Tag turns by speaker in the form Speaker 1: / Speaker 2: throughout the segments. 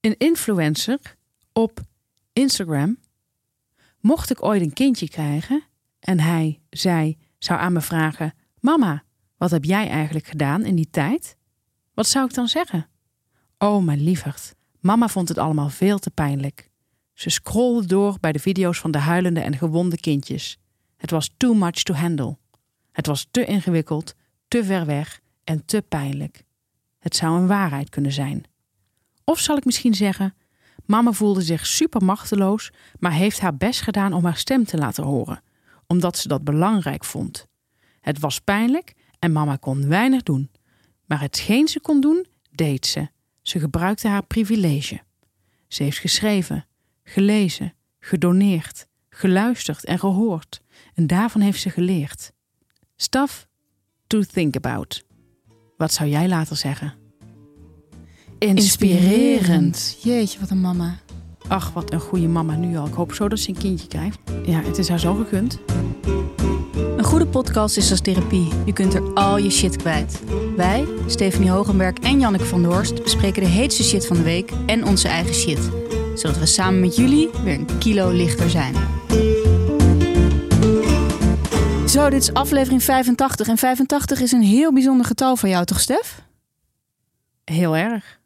Speaker 1: een influencer op Instagram. Mocht ik ooit een kindje krijgen en hij, zij zou aan me vragen: Mama, wat heb jij eigenlijk gedaan in die tijd? Wat zou ik dan zeggen? Oh, mijn lieverd, mama vond het allemaal veel te pijnlijk. Ze scrolde door bij de video's van de huilende en gewonde kindjes. Het was too much to handle. Het was te ingewikkeld, te ver weg en te pijnlijk. Het zou een waarheid kunnen zijn. Of zal ik misschien zeggen: Mama voelde zich super machteloos, maar heeft haar best gedaan om haar stem te laten horen, omdat ze dat belangrijk vond. Het was pijnlijk en mama kon weinig doen. Maar hetgeen ze kon doen, deed ze. Ze gebruikte haar privilege. Ze heeft geschreven, gelezen, gedoneerd, geluisterd en gehoord. En daarvan heeft ze geleerd. Stuff to think about. Wat zou jij later zeggen? Inspirerend.
Speaker 2: Jeetje, wat een mama.
Speaker 1: Ach, wat een goede mama nu al. Ik hoop zo dat ze een kindje krijgt. Ja, het is haar zo gegund.
Speaker 2: Een goede podcast is als therapie. Je kunt er al je shit kwijt. Wij, Stefanie Hogenberg en Janneke van der Horst, bespreken de heetste shit van de week en onze eigen shit. Zodat we samen met jullie weer een kilo lichter zijn. Zo, dit is aflevering 85. En 85 is een heel bijzonder getal voor jou, toch Stef?
Speaker 1: Heel erg.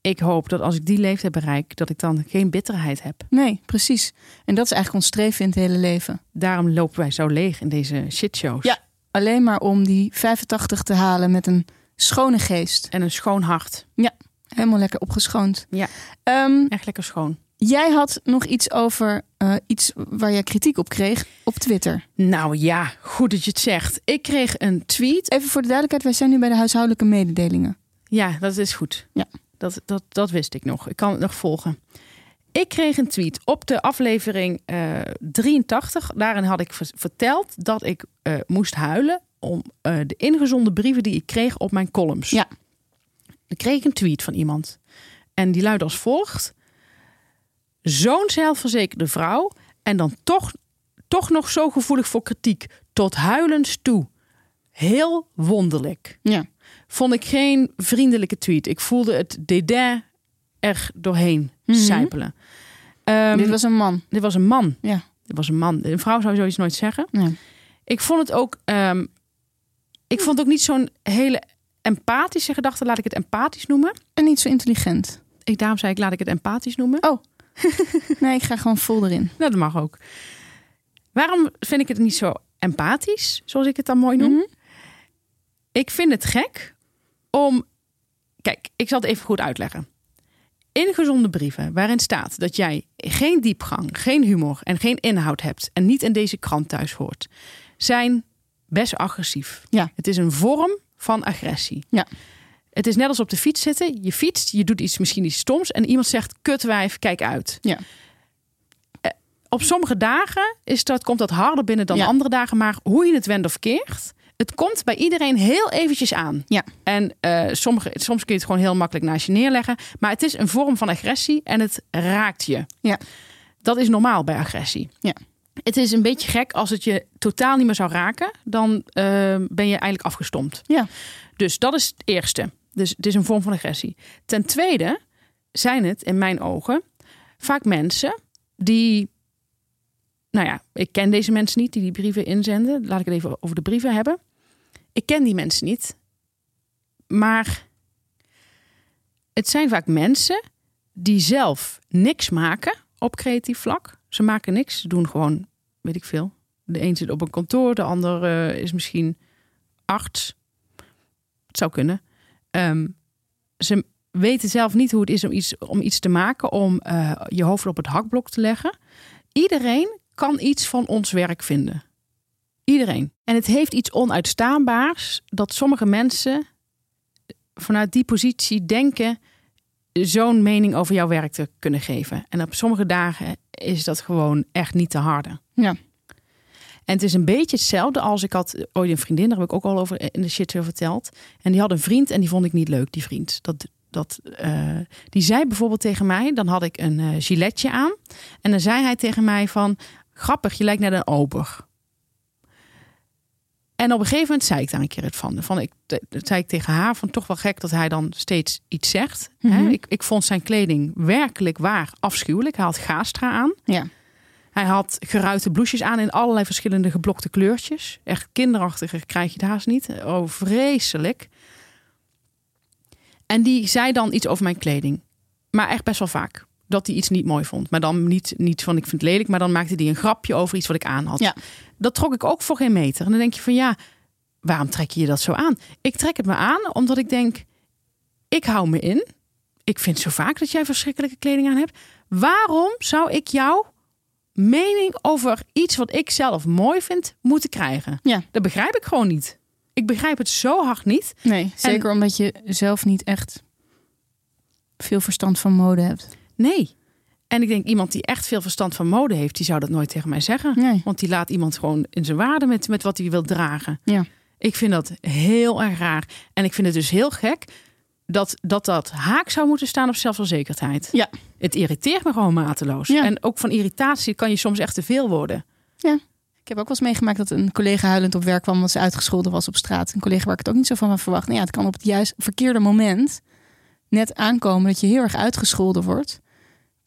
Speaker 1: Ik hoop dat als ik die leeftijd bereik, dat ik dan geen bitterheid heb.
Speaker 2: Nee, precies. En dat is eigenlijk ons streven in het hele leven.
Speaker 1: Daarom lopen wij zo leeg in deze shitshows.
Speaker 2: Ja. Alleen maar om die 85 te halen met een schone geest.
Speaker 1: En een schoon hart.
Speaker 2: Helemaal lekker opgeschoond.
Speaker 1: Ja.
Speaker 2: Ehm,
Speaker 1: Echt lekker schoon.
Speaker 2: jij had nog iets over eh, iets waar jij kritiek op kreeg op Twitter.
Speaker 1: Nou ja, goed dat je het zegt. Ik kreeg een tweet.
Speaker 2: Even voor de duidelijkheid, wij zijn nu bij de huishoudelijke mededelingen.
Speaker 1: Ja, dat is goed.
Speaker 2: Ja.
Speaker 1: Dat, dat, dat wist ik nog. Ik kan het nog volgen. Ik kreeg een tweet op de aflevering eh, 83. Daarin had ik ver- verteld dat ik eh, moest huilen om eh, de ingezonden brieven die ik kreeg op mijn columns.
Speaker 2: Ja.
Speaker 1: Ik kreeg ik een tweet van iemand. En die luidde als volgt. Zo'n zelfverzekerde vrouw en dan toch, toch nog zo gevoelig voor kritiek. Tot huilens toe. Heel wonderlijk
Speaker 2: Ja.
Speaker 1: vond ik geen vriendelijke tweet. Ik voelde het dédain er doorheen
Speaker 2: Mhm.
Speaker 1: sijpelen. Ehm,
Speaker 2: Dit was een man.
Speaker 1: dit was een man.
Speaker 2: Ja.
Speaker 1: Dit was een man. Een vrouw zou zoiets nooit zeggen.
Speaker 2: Nee.
Speaker 1: Ik vond het ook. ehm, ik vond het ook niet zo'n hele empathische gedachte. Laat ik het empathisch noemen.
Speaker 2: En niet zo intelligent.
Speaker 1: Ik, daarom zei ik, laat ik het empathisch noemen.
Speaker 2: Nee, ik ga gewoon vol erin.
Speaker 1: Nou, dat mag ook. Waarom vind ik het niet zo empathisch, zoals ik het dan mooi noem?
Speaker 2: Mhm.
Speaker 1: Ik vind het gek om. Kijk, ik zal het even goed uitleggen. Ingezonde brieven waarin staat dat jij geen diepgang, geen humor en geen inhoud hebt en niet in deze krant thuis hoort, zijn best agressief.
Speaker 2: Ja.
Speaker 1: Het is een vorm van agressie.
Speaker 2: Ja.
Speaker 1: Het is net als op de fiets zitten. Je fietst, je doet iets misschien iets stoms en iemand zegt kutwijf, kijk uit.
Speaker 2: Ja.
Speaker 1: Eh, Op sommige dagen is dat, komt dat harder binnen dan
Speaker 2: Ja.
Speaker 1: andere dagen, maar hoe je het wendt of keert, het komt bij iedereen heel eventjes aan.
Speaker 2: Ja.
Speaker 1: En eh, sommige, soms kun je het gewoon heel makkelijk naast je neerleggen, maar het is een vorm van agressie en het raakt je.
Speaker 2: Ja.
Speaker 1: Dat is normaal bij agressie.
Speaker 2: Ja.
Speaker 1: Het is een beetje gek als het je totaal niet meer zou raken, dan eh, ben je eigenlijk afgestompt.
Speaker 2: Ja.
Speaker 1: Dus dat is het eerste. Dus het is een vorm van agressie. Ten tweede zijn het in mijn ogen vaak mensen die. Nou ja, ik ken deze mensen niet die die brieven inzenden. Laat ik het even over de brieven hebben. Ik ken die mensen niet. Maar het zijn vaak mensen die zelf niks maken op creatief vlak. Ze maken niks. Ze doen gewoon, weet ik veel. De een zit op een kantoor, de ander eh, is misschien arts. Het zou kunnen. Ehm, ze weten zelf niet hoe het is om iets, om iets te maken, om eh, je hoofd op het hakblok te leggen. Iedereen kan iets van ons werk vinden. Iedereen. En het heeft iets onuitstaanbaars dat sommige mensen vanuit die positie denken zo'n mening over jouw werk te kunnen geven. En op sommige dagen is dat gewoon echt niet te harde.
Speaker 2: Ja.
Speaker 1: En het is een beetje hetzelfde als ik had ooit een vriendin, daar heb ik ook al over in de shit weer verteld. En die had een vriend en die vond ik niet leuk, die vriend. Dat, dat, eh, die zei bijvoorbeeld tegen mij, dan had ik een eh giletje aan. En dan zei hij tegen mij van, grappig, je lijkt net een ober. En op een gegeven moment zei ik daar een keer het van. van ik, dat zei ik tegen haar van toch wel gek dat hij dan steeds iets zegt.
Speaker 2: Mhm.
Speaker 1: Hè? Ik, ik vond zijn kleding werkelijk waar afschuwelijk. Hij had gaastra aan.
Speaker 2: Ja.
Speaker 1: Hij had geruite blouses aan in allerlei verschillende geblokte kleurtjes. Echt kinderachtiger krijg je het haast niet. Oh, vreselijk. En die zei dan iets over mijn kleding. Maar echt best wel vaak. Dat hij iets niet mooi vond. Maar dan niet, niet van ik vind het lelijk. Maar dan maakte hij een grapje over iets wat ik aan had.
Speaker 2: Ja.
Speaker 1: Dat trok ik ook voor geen meter. En dan denk je van ja, waarom trek je je dat zo aan? Ik trek het me aan omdat ik denk, ik hou me in. Ik vind zo vaak dat jij verschrikkelijke kleding aan hebt. Waarom zou ik jou mening over iets wat ik zelf mooi vind moeten krijgen.
Speaker 2: Ja.
Speaker 1: Dat begrijp ik gewoon niet. Ik begrijp het zo hard niet.
Speaker 2: Nee, zeker omdat je zelf niet echt veel verstand van mode hebt.
Speaker 1: Nee. En ik denk iemand die echt veel verstand van mode heeft, die zou dat nooit tegen mij zeggen.
Speaker 2: Nee.
Speaker 1: Want die laat iemand gewoon in zijn waarde met, met wat hij wil dragen.
Speaker 2: Ja.
Speaker 1: Ik vind dat heel erg raar. En ik vind het dus heel gek dat dat, dat haak zou moeten staan op zelfverzekerdheid.
Speaker 2: Ja.
Speaker 1: Het irriteert me gewoon mateloos.
Speaker 2: Ja.
Speaker 1: En ook van irritatie kan je soms echt te veel worden.
Speaker 2: Ik heb ook wel eens meegemaakt dat een collega huilend op werk kwam omdat ze uitgescholden was op straat. Een collega waar ik het ook niet zo van had verwacht. Nou ja, het kan op het juist verkeerde moment net aankomen dat je heel erg uitgescholden wordt.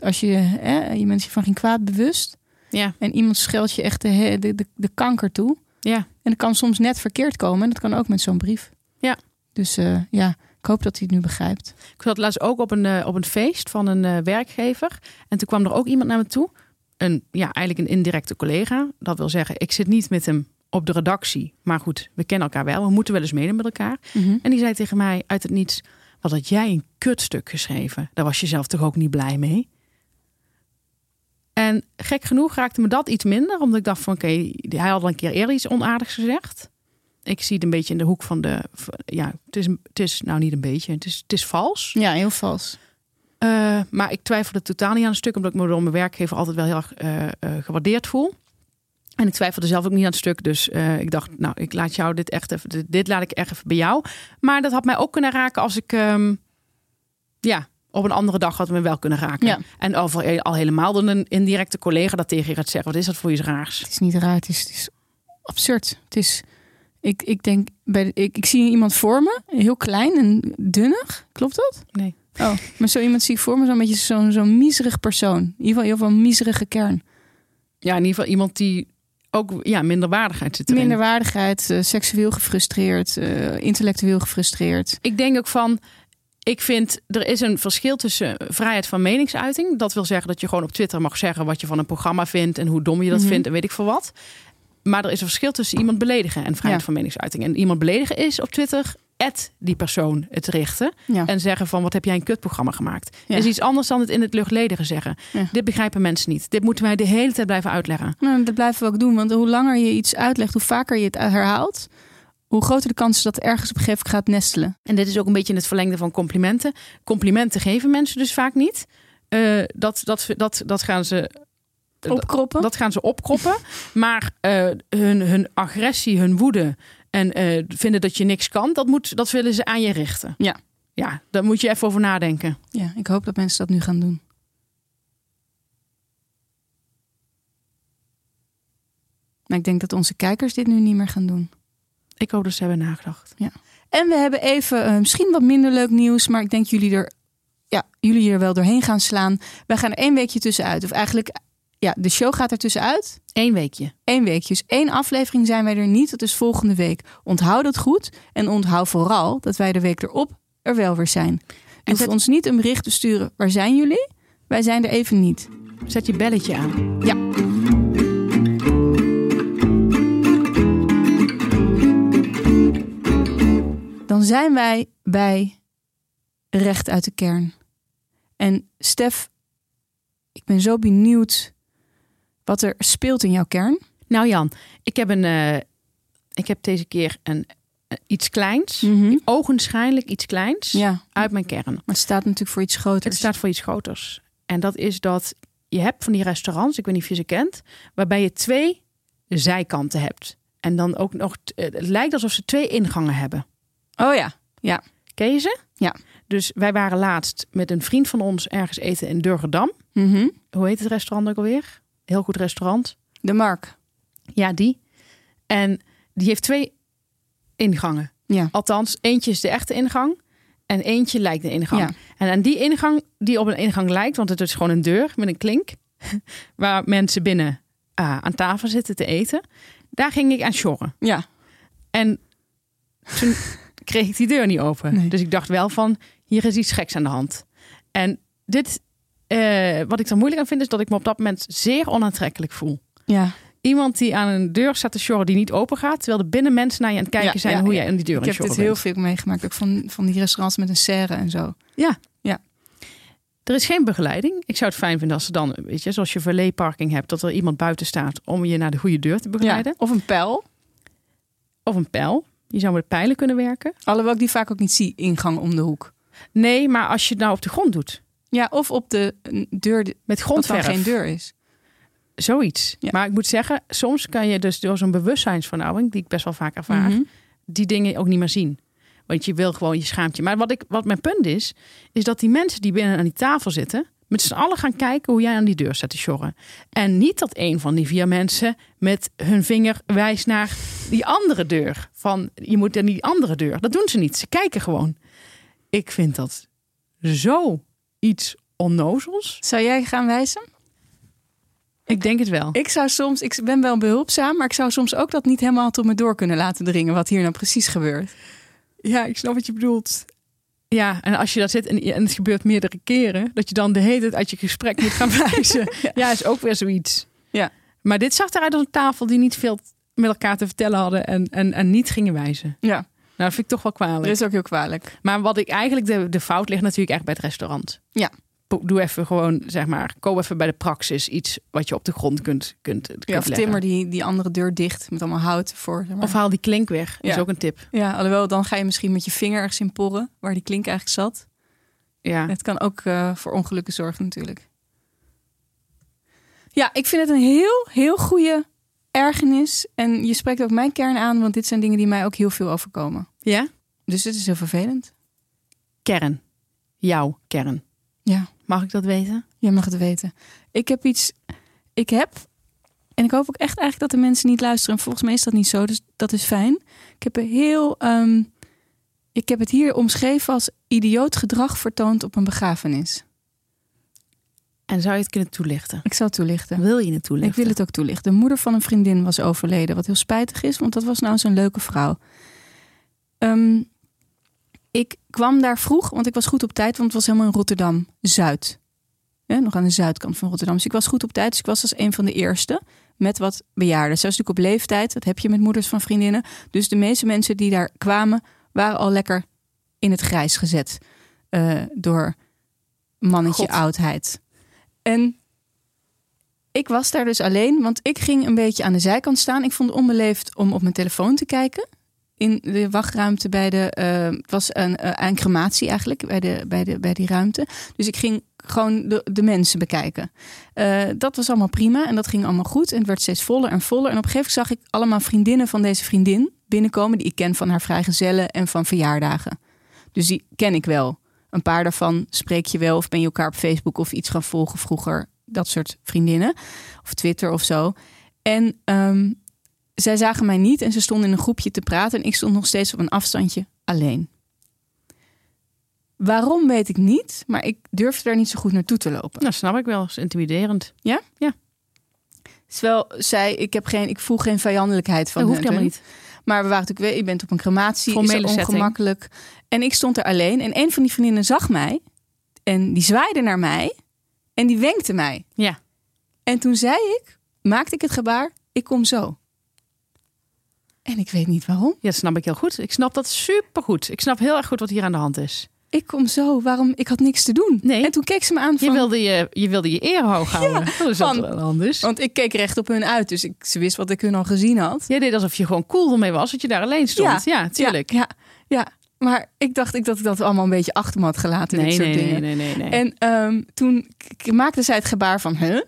Speaker 2: Als je, hè, je bent je van geen kwaad bewust
Speaker 1: Ja,
Speaker 2: en iemand scheldt je echt de, he- de, de, de kanker toe.
Speaker 1: ja.
Speaker 2: En dat kan soms net verkeerd komen en dat kan ook met zo'n brief.
Speaker 1: Ja.
Speaker 2: Dus eh, ja, ik hoop dat hij het nu begrijpt.
Speaker 1: Ik zat laatst ook op een, eh, op een feest van een eh, werkgever. En toen kwam er ook iemand naar me toe. Een, ja, eigenlijk een indirecte collega. Dat wil zeggen, ik zit niet met hem op de redactie. Maar goed, we kennen elkaar wel. We moeten wel eens mede met elkaar. En die zei tegen mij uit het niets... Wat had jij een kutstuk geschreven? Daar was je zelf toch ook niet blij mee? En gek genoeg raakte me dat iets minder. Omdat ik dacht van oké, hij had al een keer eerder iets onaardigs gezegd. Ik zie het een beetje in de hoek van de... Ja, het is, het is nou niet een beetje. Het is, het is vals.
Speaker 2: Ja, heel vals.
Speaker 1: Eh, maar ik twijfelde totaal niet aan een stuk, omdat ik me door mijn werkgever altijd wel heel erg eh, eh, gewaardeerd voel. En ik twijfelde zelf ook niet aan het stuk. Dus eh, ik dacht, nou, ik laat jou dit echt even. Dit, dit laat ik echt even bij jou. Maar dat had mij ook kunnen raken als ik. ehm, ja, op een andere dag had het me wel kunnen raken.
Speaker 2: Ja.
Speaker 1: En over, al helemaal dan een indirecte collega dat tegen je gaat zeggen. Wat is dat voor iets raars?
Speaker 2: Het is niet raar, het is, het is absurd. Het is, ik, ik denk, bij de- ik, ik zie iemand voor me, heel klein en dunnig. Klopt dat?
Speaker 1: Nee.
Speaker 2: Oh, maar zo iemand zie ik voor me, zo'n beetje zo'n zo'n miserig persoon. In ieder geval heel veel miserige kern.
Speaker 1: Ja, in ieder geval iemand die ook ja, minderwaardigheid zit erin.
Speaker 2: Minderwaardigheid, eh, seksueel gefrustreerd, eh, intellectueel gefrustreerd.
Speaker 1: Ik denk ook van. Ik vind er is een verschil tussen vrijheid van meningsuiting. Dat wil zeggen dat je gewoon op Twitter mag zeggen wat je van een programma vindt en hoe dom je dat
Speaker 2: Mhm.
Speaker 1: vindt en weet ik veel wat. Maar er is een verschil tussen iemand beledigen en vrijheid
Speaker 2: Ja.
Speaker 1: van meningsuiting. En iemand beledigen is op Twitter at die persoon het richten
Speaker 2: Ja.
Speaker 1: en zeggen van wat heb jij een kutprogramma gemaakt.
Speaker 2: Ja.
Speaker 1: Is iets anders dan het in het luchtledige zeggen.
Speaker 2: Ja.
Speaker 1: Dit begrijpen mensen niet. Dit moeten wij de hele tijd blijven uitleggen.
Speaker 2: Nou, dat blijven we ook doen, want hoe langer je iets uitlegt, hoe vaker je het herhaalt, hoe groter de kans is dat ergens op een gegeven moment gaat nestelen.
Speaker 1: En dit is ook een beetje in het verlengde van complimenten. Complimenten geven mensen dus vaak niet. Eh, dat, dat, dat, dat gaan ze
Speaker 2: Opkroppen.
Speaker 1: Dat gaan ze opkroppen. Maar eh, hun, hun agressie, hun woede en eh, vinden dat je niks kan, dat, moet, dat willen ze aan je richten.
Speaker 2: Ja.
Speaker 1: Ja, daar moet je even over nadenken.
Speaker 2: Ja, ik hoop dat mensen dat nu gaan doen. Maar ik denk dat onze kijkers dit nu niet meer gaan doen.
Speaker 1: Ik hoop dat ze hebben nagedacht.
Speaker 2: En we hebben even eh, misschien wat minder leuk nieuws, maar ik denk jullie er, ja, jullie er wel doorheen gaan slaan. Wij gaan er één weekje tussenuit. Of eigenlijk, ja, de show gaat er tussenuit.
Speaker 1: Eén weekje.
Speaker 2: Eén weekje. Dus één aflevering zijn wij er niet. Dat is volgende week. Onthoud dat goed. En onthoud vooral dat wij de week erop er wel weer zijn. U hoeft
Speaker 1: zet-
Speaker 2: ons niet een bericht te sturen. Waar zijn jullie? Wij zijn er even niet.
Speaker 1: Zet je belletje aan.
Speaker 2: Dan zijn wij bij Recht uit de Kern. En Stef, ik ben zo benieuwd wat er speelt in jouw kern.
Speaker 1: Nou Jan, ik heb, een, eh, ik heb deze keer een, eh, iets kleins.
Speaker 2: Mhm.
Speaker 1: Ogenschijnlijk iets kleins
Speaker 2: Ja,
Speaker 1: uit mijn kern.
Speaker 2: maar het staat natuurlijk voor iets groters.
Speaker 1: Het staat voor iets groters. En dat is dat je hebt van die restaurants, ik weet niet of je ze kent, waarbij je twee zijkanten hebt. En dan ook nog, t- eh, het lijkt alsof ze twee ingangen hebben.
Speaker 2: Oh ja,
Speaker 1: Ken je ze?
Speaker 2: Ja.
Speaker 1: Dus wij waren laatst met een vriend van ons ergens eten in Durgedam.
Speaker 2: Mhm.
Speaker 1: Hoe heet het restaurant ook alweer? Heel goed restaurant.
Speaker 2: de Mark.
Speaker 1: Ja, die. En die heeft twee ingangen.
Speaker 2: Ja.
Speaker 1: Althans, eentje is de echte ingang en eentje lijkt de ingang.
Speaker 2: Ja.
Speaker 1: En aan die ingang, die op een ingang lijkt, want het is gewoon een deur met een klink, waar mensen binnen ah, aan tafel zitten te eten, daar ging ik aan sjorren.
Speaker 2: Ja.
Speaker 1: En toen kreeg ik die deur niet open.
Speaker 2: Nee.
Speaker 1: Dus ik dacht wel van, hier is iets geks aan de hand. En dit, eh, wat ik er moeilijk aan vind, is dat ik me op dat moment zeer onaantrekkelijk voel.
Speaker 2: Ja.
Speaker 1: Iemand die aan een deur staat te sjorren die niet open gaat, terwijl er binnen mensen naar je aan het kijken
Speaker 2: Ja,
Speaker 1: zijn
Speaker 2: ja,
Speaker 1: hoe
Speaker 2: ja.
Speaker 1: jij aan die deur aan
Speaker 2: Ik
Speaker 1: het
Speaker 2: heb dit
Speaker 1: sjorren
Speaker 2: heel
Speaker 1: bent.
Speaker 2: veel meegemaakt. Ook van, van die restaurants met een serre en zo.
Speaker 1: Er is geen begeleiding. Ik zou het fijn vinden als ze dan, weet je, zoals je verleeparking hebt, dat er iemand buiten staat om je naar de goede deur te begeleiden.
Speaker 2: Of een pijl.
Speaker 1: Of een pijl. Je zou met pijlen kunnen werken.
Speaker 2: Alhoewel ik die vaak ook niet zie, ingang om de hoek.
Speaker 1: Nee, maar als je het nou op de grond doet.
Speaker 2: Ja, of op de een deur die-
Speaker 1: Met
Speaker 2: wat dan
Speaker 1: grondverf.
Speaker 2: geen deur is.
Speaker 1: Zoiets.
Speaker 2: Ja.
Speaker 1: Maar ik moet zeggen, soms kan je dus door zo'n bewustzijnsvernauwing, die ik best wel vaak ervaar,
Speaker 2: Mhm.
Speaker 1: die dingen ook niet meer zien. Want je wil gewoon je schaamt je. Maar wat, ik, wat mijn punt is, is dat die mensen die binnen aan die tafel zitten, met z'n allen gaan kijken hoe jij aan die deur staat te sjorren. En niet dat een van die vier mensen met hun vinger wijst naar die andere deur. Van je moet aan die andere deur. Dat doen ze niet. Ze kijken gewoon. Ik vind dat zo iets onnozels.
Speaker 2: Zou jij gaan wijzen?
Speaker 1: Ik denk het wel.
Speaker 2: Ik zou soms, ik ben wel behulpzaam, maar ik zou soms ook dat niet helemaal tot me door kunnen laten dringen wat hier nou precies gebeurt.
Speaker 1: Ja, ik snap wat je bedoelt. Ja, en als je dat zit en, en het gebeurt meerdere keren, dat je dan de hele tijd uit je gesprek moet gaan wijzen. ja. is ook weer zoiets.
Speaker 2: Ja.
Speaker 1: Maar dit zag eruit als een tafel die niet veel met elkaar te vertellen hadden en, en, en niet gingen wijzen.
Speaker 2: Ja,
Speaker 1: Nou, dat vind ik toch wel
Speaker 2: dat
Speaker 1: kwalijk.
Speaker 2: is ook heel kwalijk.
Speaker 1: Maar wat ik eigenlijk, de, de fout ligt natuurlijk echt bij het restaurant.
Speaker 2: Ja.
Speaker 1: Po- Doe even gewoon, zeg maar, koop even bij de praxis iets wat je op de grond kunt, kunt, kunt
Speaker 2: Ja, of
Speaker 1: leggen.
Speaker 2: timmer die, die andere deur dicht met allemaal hout voor. zeg maar.
Speaker 1: Of haal die klink weg, is
Speaker 2: Ja.
Speaker 1: ook een tip.
Speaker 2: ja, alhoewel dan ga je misschien met je vinger ergens in porren waar die klink eigenlijk zat.
Speaker 1: Ja.
Speaker 2: Het kan ook eh, voor ongelukken zorgen natuurlijk. Ja, ik vind het een heel, heel goede ergernis. En je spreekt ook mijn kern aan, want dit zijn dingen die mij ook heel veel overkomen.
Speaker 1: ja?
Speaker 2: Dus het is heel vervelend.
Speaker 1: Kern. Jouw kern.
Speaker 2: Ja.
Speaker 1: Mag ik dat weten?
Speaker 2: Jij mag het weten. Ik heb iets. Ik heb. En ik hoop ook echt eigenlijk dat de mensen niet luisteren. En volgens mij is dat niet zo, dus dat is fijn. Ik heb een heel. ehm, ik heb het hier omschreven als idioot gedrag vertoond op een begrafenis.
Speaker 1: En zou je het kunnen toelichten?
Speaker 2: Ik zal toelichten.
Speaker 1: Wil je het toelichten?
Speaker 2: Ik wil het ook toelichten. De moeder van een vriendin was overleden, wat heel spijtig is, want dat was nou zo'n leuke vrouw. Ehm, ik kwam daar vroeg, want ik was goed op tijd, want het was helemaal in Rotterdam Zuid. Ja, nog aan de zuidkant van Rotterdam. Dus ik was goed op tijd, dus ik was als een van de eerste met wat bejaarden. Zij was natuurlijk op leeftijd, dat heb je met moeders van vriendinnen. Dus de meeste mensen die daar kwamen, waren al lekker in het grijs gezet eh, door mannetje
Speaker 1: God.
Speaker 2: oudheid. En ik was daar dus alleen, want ik ging een beetje aan de zijkant staan. Ik vond het onbeleefd om op mijn telefoon te kijken. In de wachtruimte bij de. eh, het was een, eh, een crematie eigenlijk, bij, de, bij, de, bij die ruimte. Dus ik ging gewoon de, de mensen bekijken. Eh, dat was allemaal prima en dat ging allemaal goed. En het werd steeds voller en voller. En op een gegeven moment zag ik allemaal vriendinnen van deze vriendin binnenkomen. die ik ken van haar vrijgezellen en van verjaardagen. Dus die ken ik wel. Een paar daarvan spreek je wel of ben je elkaar op Facebook of iets gaan volgen vroeger. Dat soort vriendinnen of Twitter of zo. En ehm, zij zagen mij niet en ze stonden in een groepje te praten en ik stond nog steeds op een afstandje alleen. Waarom weet ik niet, maar ik durfde daar niet zo goed naartoe te lopen.
Speaker 1: Nou, snap ik wel. Dat is intimiderend.
Speaker 2: Terwijl zij, ik, heb geen, ik voel geen vijandelijkheid van
Speaker 1: dat hoeft
Speaker 2: hun.
Speaker 1: helemaal niet.
Speaker 2: Maar we waren natuurlijk weer, je bent op een crematie,
Speaker 1: Formele
Speaker 2: is dat
Speaker 1: setting.
Speaker 2: ongemakkelijk. En ik stond er alleen en een van die vriendinnen zag mij en die zwaaide naar mij en die wenkte mij.
Speaker 1: Ja.
Speaker 2: En toen zei ik, maakte ik het gebaar, ik kom zo. En ik weet niet waarom.
Speaker 1: ja, dat snap ik heel goed. Ik snap dat supergoed. Ik snap heel erg goed wat hier aan de hand is.
Speaker 2: Ik kom zo, waarom? Ik had niks te doen.
Speaker 1: Nee.
Speaker 2: En toen keek ze me aan
Speaker 1: Je
Speaker 2: van...
Speaker 1: wilde je, je, wilde je eer hoog houden. dat is wat
Speaker 2: van-
Speaker 1: er aan de hand is.
Speaker 2: Want ik keek recht op hun uit, dus ik, ze wist wat ik hun al gezien had.
Speaker 1: Jij deed alsof je gewoon cool ermee was dat je daar alleen stond. Ja, tuurlijk.
Speaker 2: Ja, ja, ja. maar ik dacht ik dat ik dat allemaal een beetje achter me had gelaten. dit
Speaker 1: nee,
Speaker 2: soort
Speaker 1: nee,
Speaker 2: dingen.
Speaker 1: nee, nee, nee, nee.
Speaker 2: En ehm, toen k- k- maakte zij het gebaar van, huh?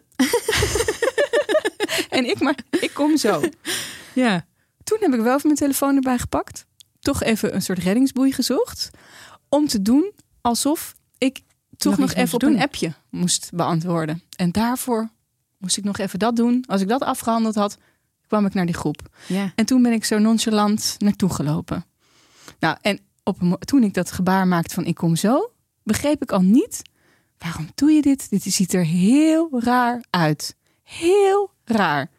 Speaker 2: en ik maar, ik kom zo.
Speaker 1: ja.
Speaker 2: Toen heb ik wel even mijn telefoon erbij gepakt. Toch even een soort reddingsboei gezocht. Om te doen alsof ik toch
Speaker 1: Nog
Speaker 2: nog
Speaker 1: iets moest
Speaker 2: even op
Speaker 1: doen.
Speaker 2: een appje moest beantwoorden. En daarvoor moest ik nog even dat doen. Als ik dat afgehandeld had, kwam ik naar die groep.
Speaker 1: Ja.
Speaker 2: En toen ben ik zo nonchalant naartoe gelopen. Nou, en op een mo- toen ik dat gebaar maakte van ik kom zo, begreep ik al niet waarom doe je dit? Dit ziet er heel raar uit. Heel raar.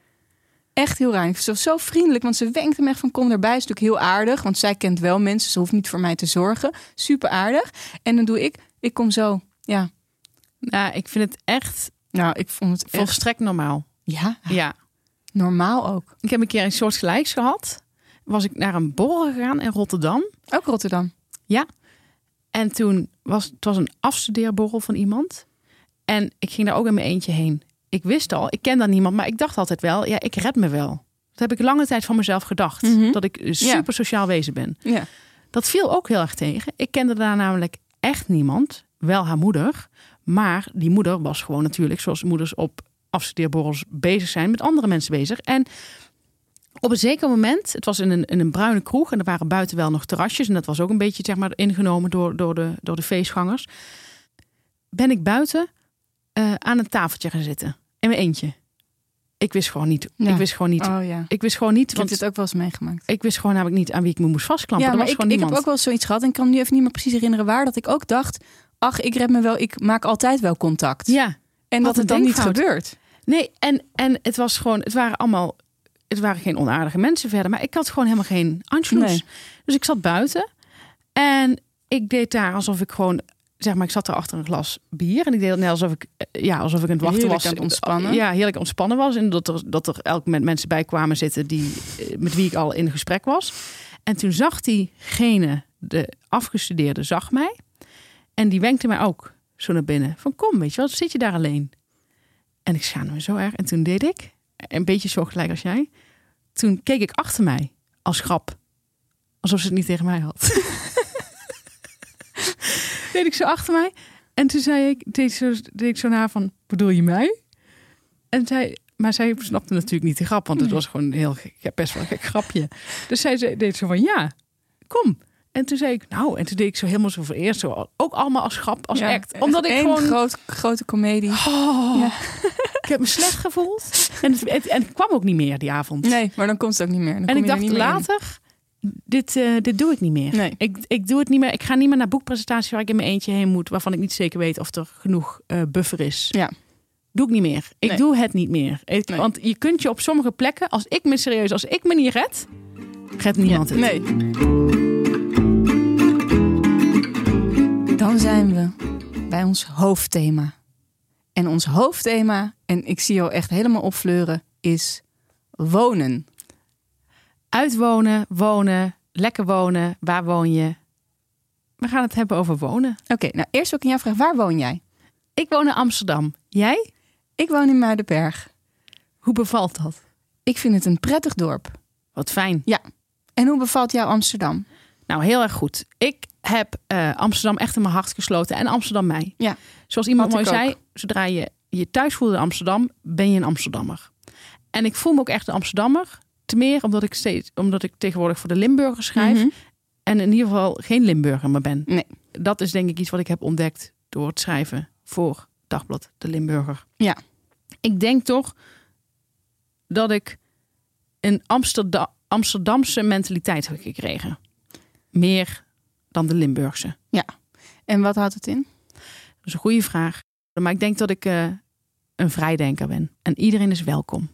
Speaker 2: Echt heel raar. En Ze was zo vriendelijk, want ze wenkte me echt van kom erbij. Is natuurlijk heel aardig, want zij kent wel mensen. Ze hoeft niet voor mij te zorgen. Super aardig. En dan doe ik, ik kom zo. Ja,
Speaker 1: Nou, ik vind het echt
Speaker 2: nou, ik vond het echt...
Speaker 1: volstrekt normaal.
Speaker 2: Ja,
Speaker 1: Ja.
Speaker 2: normaal ook.
Speaker 1: Ik heb een keer een soort gelijks gehad. Was ik naar een borrel gegaan in Rotterdam.
Speaker 2: Ook Rotterdam.
Speaker 1: En toen was het was een afstudeerborrel van iemand. En ik ging daar ook in mijn eentje heen. Ik wist al, ik ken daar niemand, maar ik dacht altijd wel, ja, ik red me wel. Dat heb ik lange tijd van mezelf gedacht.
Speaker 2: Mhm.
Speaker 1: Dat ik een
Speaker 2: Ja.
Speaker 1: super sociaal wezen ben.
Speaker 2: Ja.
Speaker 1: Dat viel ook heel erg tegen. Ik kende daar namelijk echt niemand. Wel haar moeder. Maar die moeder was gewoon natuurlijk, zoals moeders op afstudeerborrels bezig zijn, met andere mensen bezig. En op een zeker moment, het was in een, in een bruine kroeg en er waren buiten wel nog terrasjes. En dat was ook een beetje zeg maar, ingenomen door, door, de, door de feestgangers. Ben ik buiten eh, aan een tafeltje gaan zitten. In mijn eentje. Ik wist gewoon niet.
Speaker 2: Ja.
Speaker 1: Ik wist gewoon niet.
Speaker 2: Oh ja.
Speaker 1: Ik wist gewoon niet.
Speaker 2: Ik heb
Speaker 1: Want
Speaker 2: dit ook wel eens meegemaakt.
Speaker 1: ik wist gewoon namelijk niet aan wie ik me moest vastklampen.
Speaker 2: Ja,
Speaker 1: er
Speaker 2: maar
Speaker 1: was
Speaker 2: ik,
Speaker 1: gewoon
Speaker 2: ik
Speaker 1: niemand.
Speaker 2: heb ook wel zoiets gehad en ik kan me nu even niet meer precies herinneren waar dat ik ook dacht. Ach, ik red me wel, ik maak altijd wel contact.
Speaker 1: Ja.
Speaker 2: en
Speaker 1: wat
Speaker 2: dat
Speaker 1: een
Speaker 2: het dan niet
Speaker 1: denkfout.
Speaker 2: gebeurt.
Speaker 1: Nee, en, en het was gewoon, het waren allemaal, het waren geen onaardige mensen verder, maar ik had gewoon helemaal geen anschluss.
Speaker 2: Nee.
Speaker 1: Dus ik zat buiten en ik deed daar alsof ik gewoon, zeg maar, ik zat daar achter een glas bier en ik deed net alsof ik, eh, ja, alsof ik aan het wachten
Speaker 2: Heerlijk
Speaker 1: was.
Speaker 2: aan het ontspannen.
Speaker 1: Ja, heerlijk ontspannen was en dat er, dat er elk moment mensen bij kwamen zitten die, eh, met wie ik al in gesprek was. En toen zag diegene, de afgestudeerde, zag mij en die wenkte mij ook zo naar binnen. Van kom, weet je wel, zit je daar alleen? En ik schaamde me zo erg. En toen deed ik, een beetje zo gelijk als jij. Toen keek ik achter mij als grap. Alsof ze het niet tegen mij had. deed ik zo achter mij. En toen zei ik, deed, zo, deed ik zo naar van, bedoel je mij? En zij, maar zij snapte natuurlijk niet de grap, want het was gewoon een heel gek- ja, best wel een gek grapje. Dus zij zei- deed zo van, ja, kom. En toen zei ik, nou, en toen deed ik zo helemaal zo vereerd, zo, ook allemaal als grap, als
Speaker 2: Ja,
Speaker 1: act. Omdat ik
Speaker 2: één
Speaker 1: gewoon...
Speaker 2: groot, grote komedie.
Speaker 1: Oh,
Speaker 2: Ja.
Speaker 1: ik heb me slecht gevoeld. En het, het- en het kwam ook niet meer die avond.
Speaker 2: Nee, maar dan komt het ook niet meer. Dan kom
Speaker 1: en ik
Speaker 2: je er
Speaker 1: dacht
Speaker 2: niet meer in.
Speaker 1: later, dit, eh, dit doe ik niet meer.
Speaker 2: Nee.
Speaker 1: Ik, ik doe het niet meer. Ik ga niet meer naar boekpresentaties waar ik in mijn eentje heen moet, waarvan ik niet zeker weet of er genoeg eh, buffer is.
Speaker 2: Ja.
Speaker 1: Doe ik niet meer. Ik
Speaker 2: Nee.
Speaker 1: doe het niet meer. Ik-
Speaker 2: Nee.
Speaker 1: Want je kunt je op sommige plekken, als ik me serieus, als ik me niet red, redt niemand het.
Speaker 2: Nee. Dan zijn we bij ons hoofdthema. En ons hoofdthema, en ik zie jou echt helemaal opfleuren, is wonen.
Speaker 1: Uitwonen, wonen, lekker wonen, waar woon je? We gaan het hebben over wonen.
Speaker 2: Oké, nou eerst wil ik aan jou vragen, waar woon jij?
Speaker 1: Ik woon in Amsterdam. Jij?
Speaker 2: Ik woon in Muidenberg.
Speaker 1: Hoe bevalt dat?
Speaker 2: Ik vind het een prettig dorp.
Speaker 1: Wat fijn.
Speaker 2: En hoe bevalt jou Amsterdam?
Speaker 1: Nou, heel erg goed. Ik heb eh, Amsterdam echt in mijn hart gesloten en Amsterdam mij.
Speaker 2: Ja.
Speaker 1: Zoals iemand
Speaker 2: Had
Speaker 1: mooi
Speaker 2: ik
Speaker 1: zei, zodra je je thuis voelt in Amsterdam, ben je een Amsterdammer. En ik voel me ook echt een Amsterdammer. Te meer omdat ik, steeds, omdat ik tegenwoordig voor de Limburger schrijf.
Speaker 2: Mhm.
Speaker 1: En in ieder geval geen Limburger meer ben.
Speaker 2: Nee.
Speaker 1: Dat is denk ik iets wat ik heb ontdekt door het schrijven voor Dagblad de Limburger.
Speaker 2: Ja.
Speaker 1: Ik denk toch dat ik een Amsterda- Amsterdamse mentaliteit heb gekregen. Meer dan de Limburgse.
Speaker 2: En wat houdt het in?
Speaker 1: Dat is een goede vraag. Maar ik denk dat ik eh, een vrijdenker ben. En iedereen is welkom.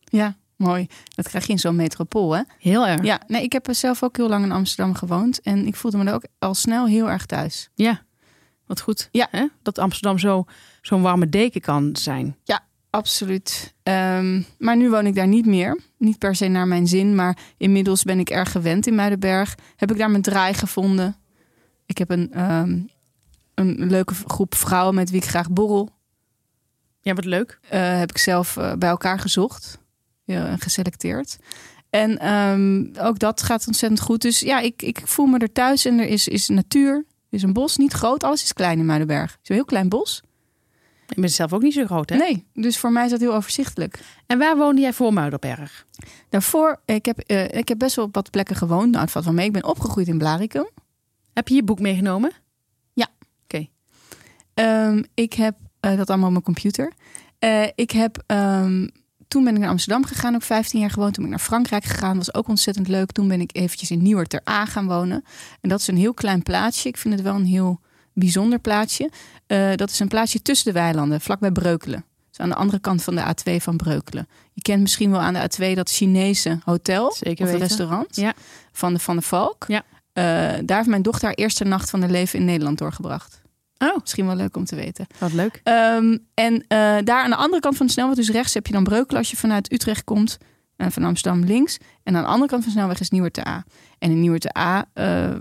Speaker 2: Ja, mooi. Dat krijg je in zo'n metropool, hè?
Speaker 1: Heel erg.
Speaker 2: Ja, nee, ik heb zelf ook heel lang in Amsterdam gewoond. En ik voelde me er ook al snel heel erg thuis.
Speaker 1: Wat goed.
Speaker 2: Ja.
Speaker 1: Hè? Dat Amsterdam zo, zo'n warme deken kan zijn.
Speaker 2: Absoluut. Ehm, maar nu woon ik daar niet meer. Niet per se naar mijn zin, maar inmiddels ben ik erg gewend in Muidenberg. Heb ik daar mijn draai gevonden. Ik heb een, ehm, een leuke groep vrouwen met wie ik graag borrel.
Speaker 1: Ja, wat leuk.
Speaker 2: eh, heb ik zelf eh, bij elkaar gezocht ja, en geselecteerd. En ehm, ook dat gaat ontzettend goed. Dus ja, ik, ik voel me er thuis en er is, is natuur. Er is een bos, niet groot. Alles is klein in Muidenberg. Het is een heel klein bos.
Speaker 1: Ik ben zelf ook niet zo groot, hè?
Speaker 2: Nee, dus voor mij is dat heel overzichtelijk.
Speaker 1: En waar woonde jij voor Muiderberg?
Speaker 2: Daarvoor, eh, ik heb, eh, ik heb best wel op wat plekken gewoond. Nou, het valt wel mee. Ik ben opgegroeid in Blarikum.
Speaker 1: Heb je je boek meegenomen?
Speaker 2: Ehm, ik heb eh, dat allemaal op mijn computer. Eh, ik heb ehm, toen ben ik naar Amsterdam gegaan, ook 15 jaar gewoond. Toen ben ik naar Frankrijk gegaan, was ook ontzettend leuk. Toen ben ik eventjes in Nieuwer ter A gaan wonen. En dat is een heel klein plaatsje. Ik vind het wel een heel bijzonder plaatsje. Eh, dat is een plaatsje tussen de weilanden, vlakbij Breukelen. Dus aan de andere kant van de A2 van Breukelen. Je kent misschien wel aan de A2 dat Chinese hotel
Speaker 1: Zeker
Speaker 2: of een
Speaker 1: weten.
Speaker 2: restaurant
Speaker 1: Ja.
Speaker 2: van de Van de Valk.
Speaker 1: Ja.
Speaker 2: Eh, daar heeft mijn dochter haar eerste nacht van haar leven in Nederland doorgebracht.
Speaker 1: Oh.
Speaker 2: Misschien wel leuk om te weten.
Speaker 1: Wat leuk.
Speaker 2: Ehm, en eh, daar aan de andere kant van de snelweg, dus rechts heb je dan Breukelen als je vanuit Utrecht komt. En van Amsterdam links. En aan de andere kant van de snelweg is Nieuwer te A. En in Nieuwer te A eh,